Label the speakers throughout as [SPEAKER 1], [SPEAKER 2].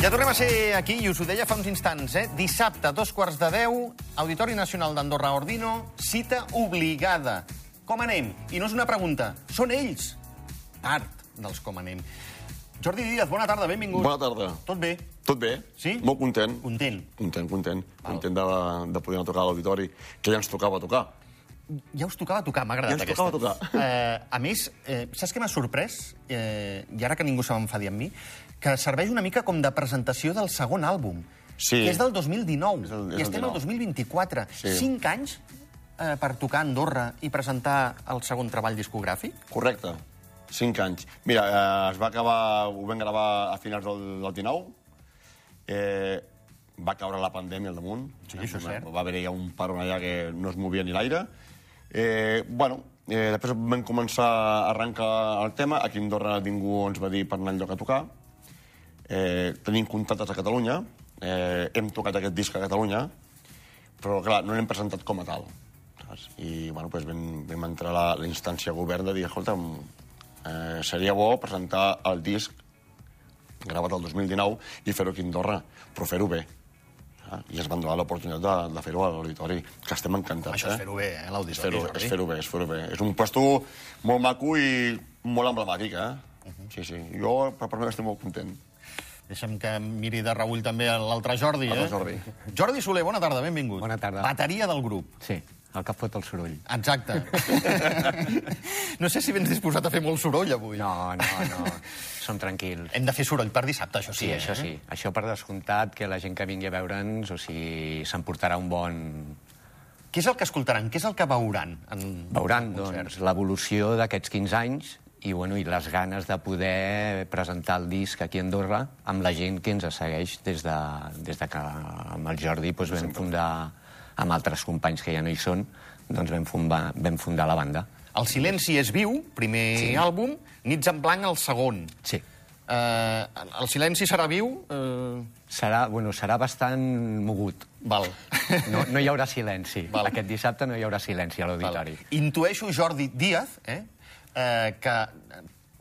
[SPEAKER 1] Ja tornem a ser aquí, i us ho deia fa uns instants, eh? Dissabte, dos quarts de deu, Auditori Nacional d'Andorra Ordino, cita obligada. Com anem? I no és una pregunta, són ells part dels com anem. Jordi Díaz, bona tarda, benvingut.
[SPEAKER 2] Bona tarda.
[SPEAKER 1] Tot bé?
[SPEAKER 2] Tot bé?
[SPEAKER 1] Sí?
[SPEAKER 2] Molt content.
[SPEAKER 1] Content.
[SPEAKER 2] Content, content. Content de, de poder anar a tocar a l'auditori, que ja ens tocava tocar.
[SPEAKER 1] Ja us tocava tocar, m'ha agradat
[SPEAKER 2] Ja ens
[SPEAKER 1] aquesta.
[SPEAKER 2] tocava tocar.
[SPEAKER 1] Eh, a més, eh, saps què m'ha sorprès? Eh, I ara que ningú se m'enfadi amb mi, que serveix una mica com de presentació del segon àlbum,
[SPEAKER 2] Sí.
[SPEAKER 1] que és del 2019,
[SPEAKER 2] És el- és
[SPEAKER 1] i
[SPEAKER 2] el
[SPEAKER 1] estem
[SPEAKER 2] 19.
[SPEAKER 1] al 2024.
[SPEAKER 2] Sí.
[SPEAKER 1] Cinc anys eh, per tocar a Andorra i presentar el segon treball discogràfic?
[SPEAKER 2] Correcte. Cinc anys. Mira, eh, es va acabar... Ho vam gravar a finals del, del 19. Eh, va caure la pandèmia al damunt.
[SPEAKER 1] Sí, això és
[SPEAKER 2] va,
[SPEAKER 1] cert.
[SPEAKER 2] Va haver-hi ja un parón allà que no es movia ni l'aire. Eh, bueno, eh, després vam començar a arrencar el tema. Aquí a Andorra ningú ens va dir per anar enlloc a tocar. Eh, tenim contactes a Catalunya. Eh, hem tocat aquest disc a Catalunya. però clar, no l'hem presentat com a tal. Saps? I bueno, doncs vam, vam entrar a la, la instància govern de dir, escolta'm, eh, seria bo presentar el disc gravat el 2019 i fer-ho aquí a Andorra, però fer-ho bé. Ah, I ens van donar l'oportunitat de, de fer-ho a l'auditori, que estem encantats.
[SPEAKER 1] Això és
[SPEAKER 2] eh?
[SPEAKER 1] fer-ho bé, eh,
[SPEAKER 2] És
[SPEAKER 1] l'auditori,
[SPEAKER 2] fer-ho
[SPEAKER 1] Jordi.
[SPEAKER 2] és fer bé, és fer-ho bé. És un puesto molt maco i molt emblemàtic, eh?
[SPEAKER 1] Mhm.
[SPEAKER 2] Sí, sí. Jo, per part meva, estic molt content.
[SPEAKER 1] Deixa'm que miri de reull també l'altre Jordi, eh?
[SPEAKER 2] L'altre Jordi.
[SPEAKER 1] Jordi Soler, bona tarda, benvingut.
[SPEAKER 3] Bona tarda.
[SPEAKER 1] Bateria del grup.
[SPEAKER 3] Sí, el que fot el soroll.
[SPEAKER 1] Exacte. no sé si vens disposat a fer molt soroll avui.
[SPEAKER 3] No, no, no, som tranquils.
[SPEAKER 1] Hem de fer soroll per dissabte, això sí. eh?
[SPEAKER 3] Sí, eh? això sí. Això per descomptat, que la gent que vingui a veure'ns, o sigui, s'emportarà un bon...
[SPEAKER 1] Què és el que escoltaran? Què és el que veuran? En...
[SPEAKER 3] Veuran,
[SPEAKER 1] en un concert?
[SPEAKER 3] doncs, l'evolució d'aquests 15 anys i, bueno, i les ganes de poder presentar el disc aquí a Andorra amb la gent que ens segueix des de, des de que amb el Jordi doncs, vam fundar, amb altres companys que ja no hi són, doncs vam fundar, vam fundar la banda.
[SPEAKER 1] El silenci és viu, primer sí. àlbum, Nits en blanc, el segon.
[SPEAKER 3] Sí.
[SPEAKER 1] Eh, el silenci serà viu? Eh,
[SPEAKER 3] Serà, bueno, serà bastant mogut.
[SPEAKER 1] val.
[SPEAKER 3] No, no hi haurà silenci.
[SPEAKER 1] Val.
[SPEAKER 3] Aquest dissabte no hi haurà silenci a
[SPEAKER 1] val.
[SPEAKER 3] l'auditori.
[SPEAKER 1] Intueixo, Jordi Díaz, eh, eh, que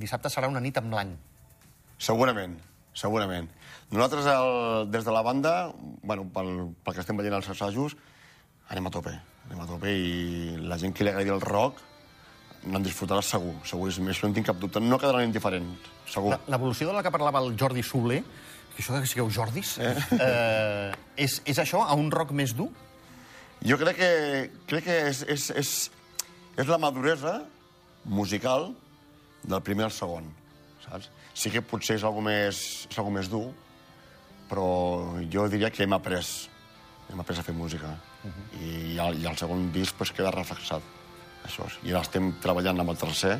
[SPEAKER 1] dissabte serà una nit en blanc.
[SPEAKER 2] Segurament, segurament. Nosaltres, el, des de la banda, bueno, pel, pel que estem veient als assajos, anem a tope. Anem a tope i la gent que li agradi el rock n'en disfrutarà segur, seguríssim. Això no en tinc cap dubte. No quedaran indiferents, segur.
[SPEAKER 1] La- L'evolució de la que parlava el Jordi Soler, que això que sigueu Jordis, eh? Eh, és, és això, a un rock més dur?
[SPEAKER 2] Jo crec que, crec que és, és, és, és la maduresa musical del primer al segon, saps? Sí que potser és algo més, és algo més dur, però jo diria que hem après, hem après a fer música. I, el, I el segon disc pues, queda reflexat, això. és. I ara estem treballant amb el tercer,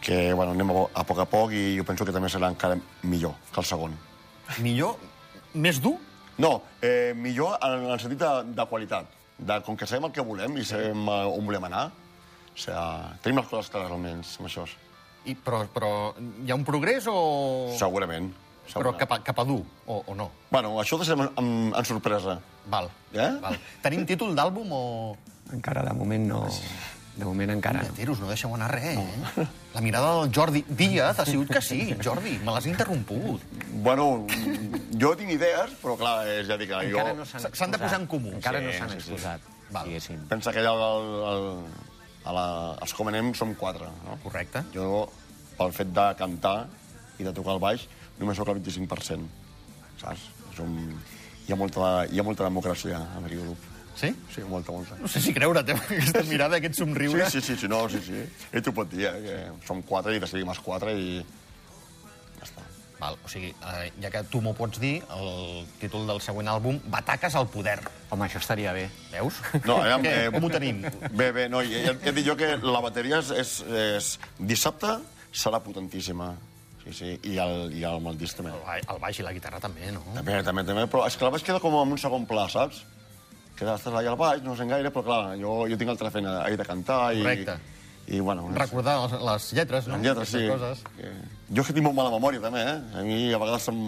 [SPEAKER 2] que bueno, anem a, po- a poc a poc i jo penso que també serà encara millor que el segon.
[SPEAKER 1] Millor, més dur?
[SPEAKER 2] No, eh, millor en el sentit de, de qualitat. De, com que sabem el que volem i sabem eh, on volem anar, o sigui, tenim les coses clares almenys amb això.
[SPEAKER 1] I, però, però hi ha un progrés o...
[SPEAKER 2] Segurament.
[SPEAKER 1] Però
[SPEAKER 2] segurament.
[SPEAKER 1] cap a, cap a dur, o, o no?
[SPEAKER 2] Bueno, això ho deixem en, en, en sorpresa.
[SPEAKER 1] Val.
[SPEAKER 2] Eh?
[SPEAKER 1] Val. Tenim títol d'àlbum o...
[SPEAKER 3] Encara, de moment, no... De moment, encara. no.
[SPEAKER 1] Teros, no deixeu anar res, eh? La mirada del Jordi Díaz ha sigut que sí, Jordi, me l'has interromput.
[SPEAKER 2] Bueno, jo tinc idees, però clar, és, ja dic, jo...
[SPEAKER 3] Encara no s'han
[SPEAKER 1] s'han de
[SPEAKER 3] exposat.
[SPEAKER 1] posar en comú.
[SPEAKER 3] Encara no
[SPEAKER 2] Sí,
[SPEAKER 3] s'han
[SPEAKER 2] sí, sí.
[SPEAKER 3] exposat,
[SPEAKER 1] Val.
[SPEAKER 3] diguéssim.
[SPEAKER 2] Pensa que allà al, al, a la, als Com Anem som quatre, no?
[SPEAKER 1] Correcte.
[SPEAKER 2] Jo, pel fet de cantar i de tocar el baix, només sóc el 25%. Saps? És un... Hi ha molta, hi ha molta democràcia en aquest grup.
[SPEAKER 1] Sí?
[SPEAKER 2] Sí, molta, molta.
[SPEAKER 1] No sé si creure-te, amb aquesta mirada, aquest
[SPEAKER 2] Sí,
[SPEAKER 1] somriure.
[SPEAKER 2] sí, sí, sí, no, sí, sí. Ell t'ho pot dir, eh, que som quatre i decidim els quatre i... Ja està.
[SPEAKER 1] Val, o sigui, eh, ja que tu m'ho pots dir, el títol del següent àlbum, Bataques al poder.
[SPEAKER 3] Home, això estaria bé.
[SPEAKER 1] Veus?
[SPEAKER 2] No, aviam,
[SPEAKER 1] Què?
[SPEAKER 2] eh,
[SPEAKER 1] Com ho tenim?
[SPEAKER 2] Bé, bé, no, ja, ja et dic jo que la bateria és, és, és... Dissabte serà potentíssima. Sí, sí, i el, i el, amb el disc també.
[SPEAKER 1] El, ba- el baix i la guitarra també, no?
[SPEAKER 2] També, també, també, però és que la baix queda com en un segon pla, saps? Queda, estàs allà al baix, no sent gaire, però clar, jo, jo tinc altra feina ahir de cantar i...
[SPEAKER 1] Correcte.
[SPEAKER 2] I, bueno, és-
[SPEAKER 1] Recordar les, les lletres, no?
[SPEAKER 2] les lletres, sí.
[SPEAKER 1] Aquestes Coses.
[SPEAKER 2] Que... Jo és que tinc molt mala memòria, també, eh? A mi a vegades se'm,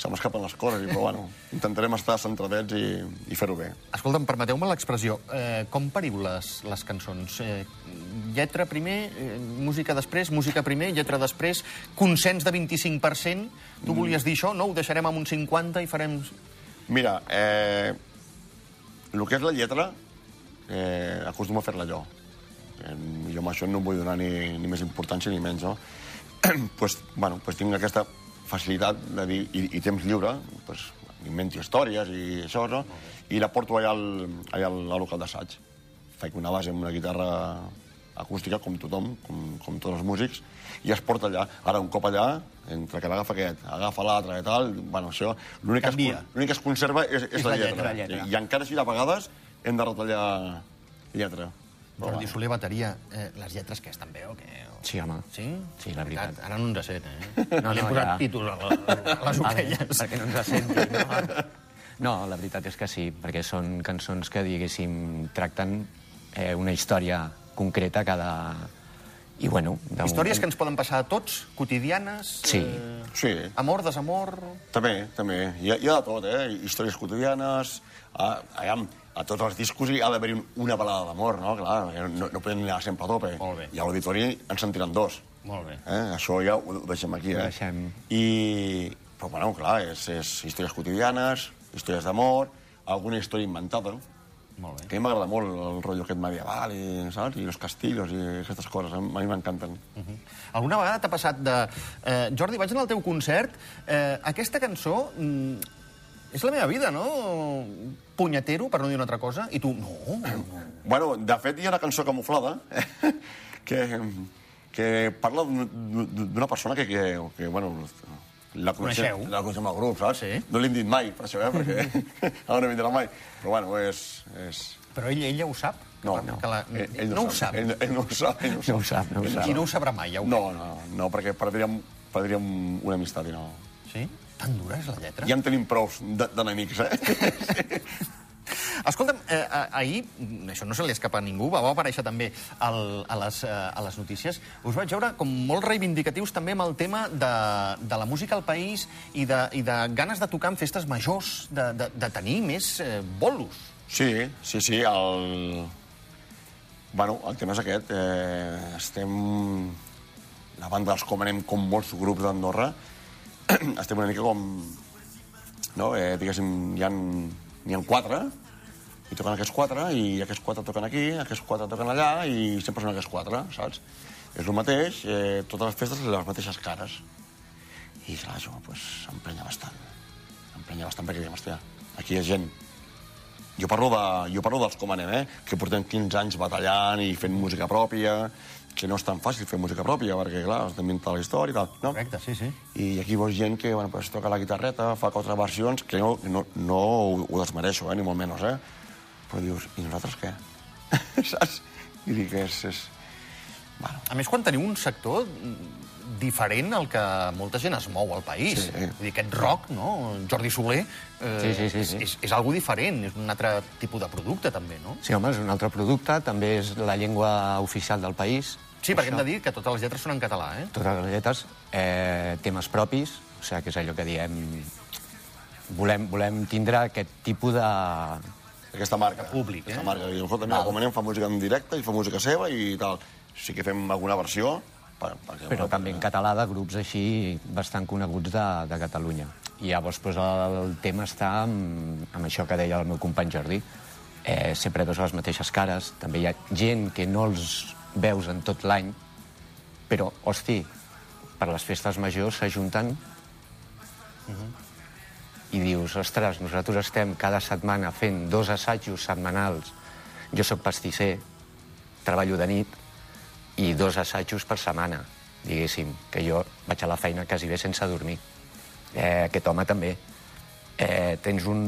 [SPEAKER 2] se m'escapen les coses, però bueno, intentarem estar centradets i, i fer-ho bé.
[SPEAKER 1] Escolta'm, permeteu-me l'expressió. Eh, com pariu les, les cançons? Eh, lletra primer, eh, música després, música primer, lletra després, consens de 25%. Tu volies dir això? No, ho deixarem amb un 50 i farem...
[SPEAKER 2] Mira, eh, el que és la lletra, eh, acostumo a fer-la jo. Eh, jo amb això no vull donar ni, ni més importància ni menys, no? pues, bueno, pues tinc aquesta facilitat de dir, i, i temps lliure, pues, invento històries i això, no? I la porto allà al, allà al al local d'assaig. Faig una base amb una guitarra acústica, com tothom, com, com tots els músics, i es porta allà. Ara, un cop allà, entre que l'agafa aquest, agafa l'altre i tal, bueno, això... L'únic que, es,
[SPEAKER 1] Canvia.
[SPEAKER 2] con- l'únic que es conserva és, és, la, lletra.
[SPEAKER 1] la lletra.
[SPEAKER 2] I, I encara així, de vegades, hem de retallar lletra. Però,
[SPEAKER 1] Jordi Soler, bateria. Eh, les lletres què estan bé o què? O...
[SPEAKER 3] Sí, home.
[SPEAKER 1] Sí?
[SPEAKER 3] Sí, la veritat.
[SPEAKER 1] Ara no ens sent, eh?
[SPEAKER 3] No,
[SPEAKER 1] Li he
[SPEAKER 3] no,
[SPEAKER 1] posat
[SPEAKER 3] ja.
[SPEAKER 1] títols a, la, a les orelles.
[SPEAKER 3] perquè no ens la sentin. No? no, la veritat és que sí, perquè són cançons que, diguéssim, tracten eh, una història concreta cada... I, bueno... De
[SPEAKER 1] Històries que ens poden passar a tots, quotidianes... eh,
[SPEAKER 3] Sí.
[SPEAKER 2] sí,
[SPEAKER 1] Amor, desamor...
[SPEAKER 2] també, també. Hi ha, hi ha de tot, eh? Històries quotidianes... A, a, a tots els discos hi ha d'haver una balada d'amor, no? Clar, perquè no, no podem anar sempre a tope.
[SPEAKER 1] Molt bé.
[SPEAKER 2] I a l'auditori ens sentiran dos.
[SPEAKER 1] Molt bé.
[SPEAKER 2] Eh? Això ja ho ho deixem aquí, eh?
[SPEAKER 3] Ho deixem.
[SPEAKER 2] I... Però, bueno, clar, és, és històries quotidianes, històries d'amor, alguna història inventada.
[SPEAKER 1] Molt
[SPEAKER 2] Que a mi m'agrada molt el rotllo aquest medieval, i, saps? I els castillos i aquestes coses, a mi m'encanten.
[SPEAKER 1] Mm. Alguna vegada t'ha passat de... Eh, Jordi, vaig anar al teu concert. Eh, aquesta cançó mm, és la meva vida, no? Punyetero, per no dir una altra cosa. I tu, no, no.
[SPEAKER 2] Bueno, de fet, hi ha una cançó camuflada que, que parla d'un- d'una persona que, que, que bueno, la coneixem,
[SPEAKER 1] Coneixeu?
[SPEAKER 2] la coneixem al grup, saps?
[SPEAKER 1] Sí.
[SPEAKER 2] No l'hem dit mai, per això, eh? Perquè ara no vindrà mai. Però, bueno, és... és...
[SPEAKER 1] Però ell, ella ho sap?
[SPEAKER 2] No,
[SPEAKER 1] Que
[SPEAKER 2] no.
[SPEAKER 1] la...
[SPEAKER 2] Ell, ell
[SPEAKER 1] no, ho sap.
[SPEAKER 2] Ell, ell no ho sap. Ell
[SPEAKER 3] No ho sap, no ho sap.
[SPEAKER 1] I no ho sabrà mai, ja ho
[SPEAKER 2] No, no, no, perquè perdríem, perdríem una amistat i no...
[SPEAKER 1] Sí? Tan dura és la lletra?
[SPEAKER 2] Ja en tenim prous de- d'enemics, eh?
[SPEAKER 1] Escolta'm, eh, a- ahir, mm, això no se li escapa a ningú, va aparèixer també al, a, les, eh, a les notícies, us vaig veure com molt reivindicatius també amb el tema de, de la música al país i de, i de ganes de tocar en festes majors, de, de, de tenir més eh, bolos.
[SPEAKER 2] Sí, sí, sí, el... Bueno, el tema és aquest. Eh, estem... La banda dels com anem com molts grups d'Andorra. estem una mica com... No? Eh, diguéssim, n'hi ha, hi ha quatre, i toquen aquests quatre, i aquests quatre toquen aquí, aquests quatre toquen allà, i sempre són aquests quatre, saps? És el mateix, eh, totes les festes les mateixes cares. I clar, això pues, emprenya bastant. Emprenya bastant perquè diem, hòstia, aquí hi ha gent jo parlo, de, jo parlo dels com anem, eh? Que portem 15 anys batallant i fent música pròpia, que no és tan fàcil fer música pròpia, perquè, clar, has d'inventar la història i tal, no?
[SPEAKER 1] Correcte, sí, sí.
[SPEAKER 2] I aquí veus gent que bueno, pues, toca la guitarreta, fa quatre versions, que no, no, no ho, ho desmereixo, eh, ni molt menys, eh? Però dius, i nosaltres què? Saps? I dic, és... és... Bueno,
[SPEAKER 1] A més, quan teniu un sector mm, diferent al que molta gent es mou al país.
[SPEAKER 2] Sí.
[SPEAKER 1] Vull dir, aquest rock, no? Jordi Soler, eh,
[SPEAKER 3] Sí, sí, sí, sí.
[SPEAKER 1] És, és, és algo diferent, és un altre tipus de producte, també, no?
[SPEAKER 3] Sí, home, és un altre producte, també és la llengua oficial del país.
[SPEAKER 1] Sí, perquè hem de dir que totes les lletres són en català, eh?
[SPEAKER 3] Totes les lletres, eh, temes propis, o sigui, que és allò que diem... Volem, volem tindre aquest tipus de...
[SPEAKER 2] aquesta marca.
[SPEAKER 1] públic, eh?
[SPEAKER 2] Aquesta marca. I, escolta, mira, com anem, fa música en directe i fa música seva i tal. Sí que fem alguna versió, per, perquè,
[SPEAKER 3] però també en català de grups així bastant coneguts de, de Catalunya. I llavors doncs, el tema està amb, amb això que deia el meu company Jordi. Eh, sempre veus les mateixes cares, també hi ha gent que no els veus en tot l'any, però, hosti, per les festes majors s'ajunten i dius, ostres, nosaltres estem cada setmana fent dos assajos setmanals. Jo sóc pastisser, treballo de nit, i dos assajos per setmana, diguéssim, que jo vaig a la feina quasi bé sense dormir. Eh, aquest home també. Eh, tens un...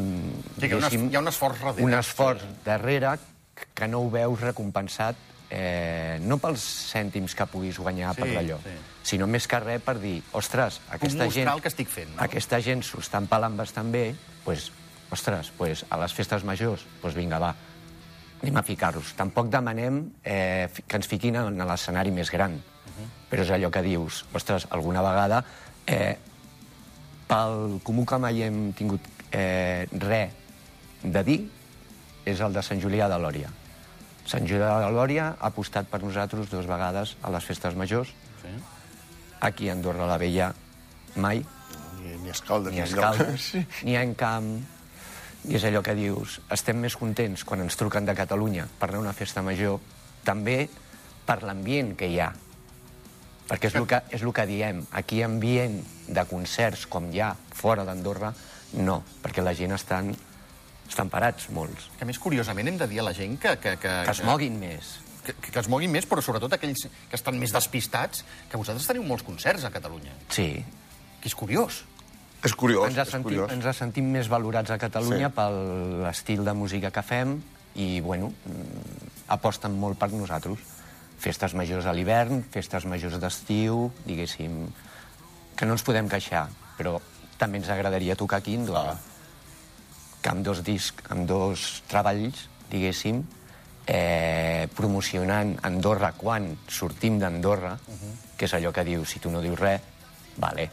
[SPEAKER 1] Sí, que hi ha un es-
[SPEAKER 3] diguéssim,
[SPEAKER 1] hi ha un esforç darrere.
[SPEAKER 3] Un esforç darrere que no ho veus recompensat eh, no pels cèntims que puguis guanyar
[SPEAKER 1] Sí,
[SPEAKER 3] per d'allò,
[SPEAKER 1] sí.
[SPEAKER 3] sinó més que res per dir, ostres, aquesta
[SPEAKER 1] mostrar
[SPEAKER 3] gent...
[SPEAKER 1] el que estic fent, no?
[SPEAKER 3] Aquesta gent s'ho està empalant bastant bé, doncs, ostres, doncs, a les festes majors, doncs vinga, va, anem a ficar-los. Tampoc demanem eh, fi- que ens fiquin en l'escenari més gran,
[SPEAKER 1] Uh-huh.
[SPEAKER 3] però és allò que dius, ostres, alguna vegada eh, pel comú que mai hem tingut eh, res de dir és el de Sant Julià de Lòria. Sant Julià de Lòria ha apostat per nosaltres dues vegades a les festes majors.
[SPEAKER 1] Sí.
[SPEAKER 3] Aquí a Andorra la Vella mai,
[SPEAKER 2] Ni, ni escaldes,
[SPEAKER 3] ni a
[SPEAKER 2] enlloc.
[SPEAKER 3] Escaldes,
[SPEAKER 2] Sí.
[SPEAKER 3] ni a Encamp, i és allò que dius, estem més contents quan ens truquen de Catalunya per anar a una festa major, també per l'ambient que hi ha. Perquè és el que, és el que diem, aquí ambient de concerts com hi ha fora d'Andorra, no, perquè la gent estan, estan parats molts.
[SPEAKER 1] Que a més, curiosament, hem de dir a la gent que... Que, que,
[SPEAKER 3] Que es moguin més.
[SPEAKER 1] Que, que, que es moguin més, però sobretot aquells que estan més despistats, que vosaltres teniu molts concerts a Catalunya,
[SPEAKER 3] Sí,
[SPEAKER 1] que és curiós.
[SPEAKER 2] És curiós,
[SPEAKER 3] ens, ha
[SPEAKER 2] és
[SPEAKER 3] sentit,
[SPEAKER 2] curiós.
[SPEAKER 3] ens ha sentit més valorats a Catalunya
[SPEAKER 2] Sí.
[SPEAKER 3] sí. per l'estil de música que fem i, bueno, mm, aposten molt per nosaltres. Festes majors a l'hivern, festes majors d'estiu, diguéssim, que no ens podem queixar, però també ens agradaria tocar aquí a Andorra. Que amb dos discs, amb dos treballs, diguéssim, eh, promocionant Andorra quan sortim d'Andorra, que és allò que diu, si tu no dius res, vale,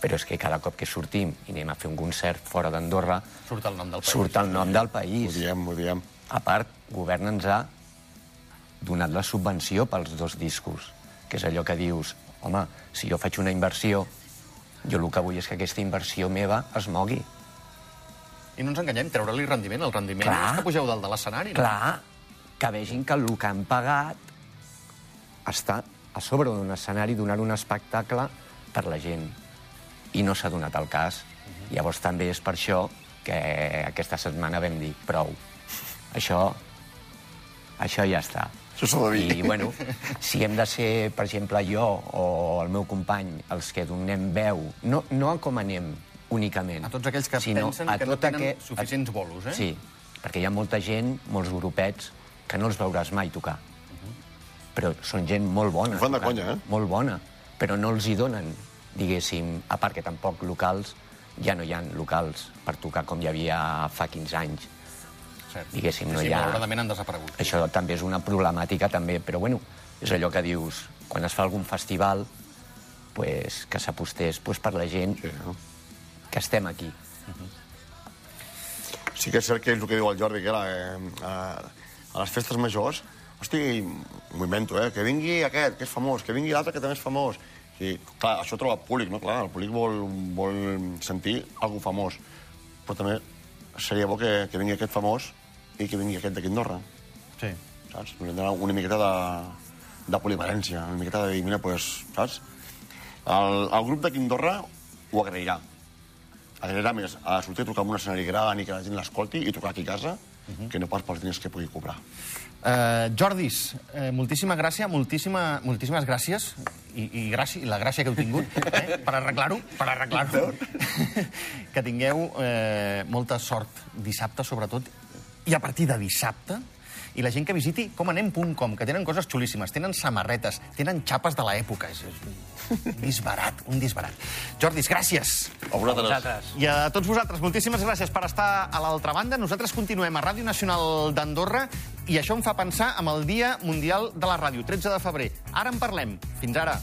[SPEAKER 3] però és que cada cop que sortim i anem a fer un concert fora d'Andorra,
[SPEAKER 1] Surt el nom del país.
[SPEAKER 3] surt el nom del país.
[SPEAKER 2] Ho diem, ho diem.
[SPEAKER 3] A part, govern ens ha donat la subvenció pels dos discos, que és allò que dius, home, si jo faig una inversió, jo el que vull és que aquesta inversió meva es mogui.
[SPEAKER 1] I no ens enganyem, treure-li rendiment. El rendiment
[SPEAKER 3] Clar.
[SPEAKER 1] és que pugeu dalt de l'escenari. no?
[SPEAKER 3] Clar, que vegin que el que han pagat està a sobre d'un escenari donant un espectacle per la gent. I no s'ha donat el cas.
[SPEAKER 1] Mhm.
[SPEAKER 3] Llavors també és per això que aquesta setmana vam dir prou. Això, això ja està.
[SPEAKER 2] Això s'ha de dir.
[SPEAKER 3] I, bueno, si hem de ser, per exemple, jo o el meu company, els que donem veu, no, no a com anem únicament. tota
[SPEAKER 1] A tots aquells que pensen que no
[SPEAKER 3] tot
[SPEAKER 1] tenen
[SPEAKER 3] aqu-
[SPEAKER 1] suficients bolos, eh?
[SPEAKER 3] Sí, perquè hi ha molta gent, molts grupets, que no els veuràs mai tocar. Però són gent molt bona.
[SPEAKER 2] Ho fan de
[SPEAKER 3] tocant,
[SPEAKER 2] conya, eh?
[SPEAKER 3] Molt bona, però no els hi donen, diguéssim, a part que tampoc locals, ja no hi ha locals per tocar com hi havia fa 15 anys.
[SPEAKER 1] Cert.
[SPEAKER 3] Diguéssim, no
[SPEAKER 1] sí,
[SPEAKER 3] hi ha-
[SPEAKER 1] malauradament han desaparegut.
[SPEAKER 3] Això també és una problemàtica, també, però bueno, és allò que dius, quan es fa algun festival, pues, que s'apostés pues, per la gent
[SPEAKER 2] Sí, no?
[SPEAKER 3] que estem aquí.
[SPEAKER 2] sí que és cert que és el que diu el Jordi, que la, eh, a, a les festes majors, hosti, m'ho invento, eh? Que vingui aquest, que és famós, que vingui l'altre, que també és famós. I, clar, això troba públic, no? Clar, el públic vol, vol sentir algú famós. Però també seria bo que, que vingui aquest famós i que vingui aquest d'aquí Andorra,
[SPEAKER 1] Sí.
[SPEAKER 2] saps? Una, una miqueta de, de polivalència, una miqueta de dir, mira, doncs, saps? El, el grup d'aquí Andorra ho agrairà. Agrairà més a sortir a tocar en un escenari gran i que la gent l'escolti i tocar aquí a casa, que no pas pels diners que pugui cobrar.
[SPEAKER 1] Uh, Jordis, eh, moltíssima gràcia, moltíssima, moltíssimes gràcies i, i, gràcia, i la gràcia que heu tingut eh, per arreglar-ho, per arreglar-ho. que tingueu eh, molta sort dissabte, sobretot, i a partir de dissabte, i la gent que visiti comanem.com, que tenen coses xulíssimes, tenen samarretes, tenen xapes de l'època. És, és un disbarat, un disbarat. Jordis, gràcies.
[SPEAKER 2] A vosaltres.
[SPEAKER 1] I a tots vosaltres, moltíssimes gràcies per estar a l'altra banda. Nosaltres continuem a Ràdio Nacional d'Andorra i això em fa pensar amb el Dia Mundial de la Ràdio, 13 de febrer. Ara en parlem. Fins ara.